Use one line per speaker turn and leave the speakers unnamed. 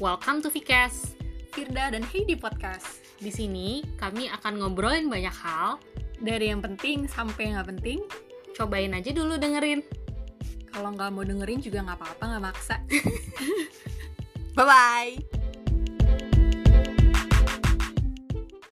Welcome to Vcast.
Firda dan Heidi Podcast.
Di sini kami akan ngobrolin banyak hal.
Dari yang penting sampai yang nggak penting,
Cobain aja dulu dengerin.
kalau nggak mau dengerin juga nggak apa-apa, nggak maksa.
Bye bye.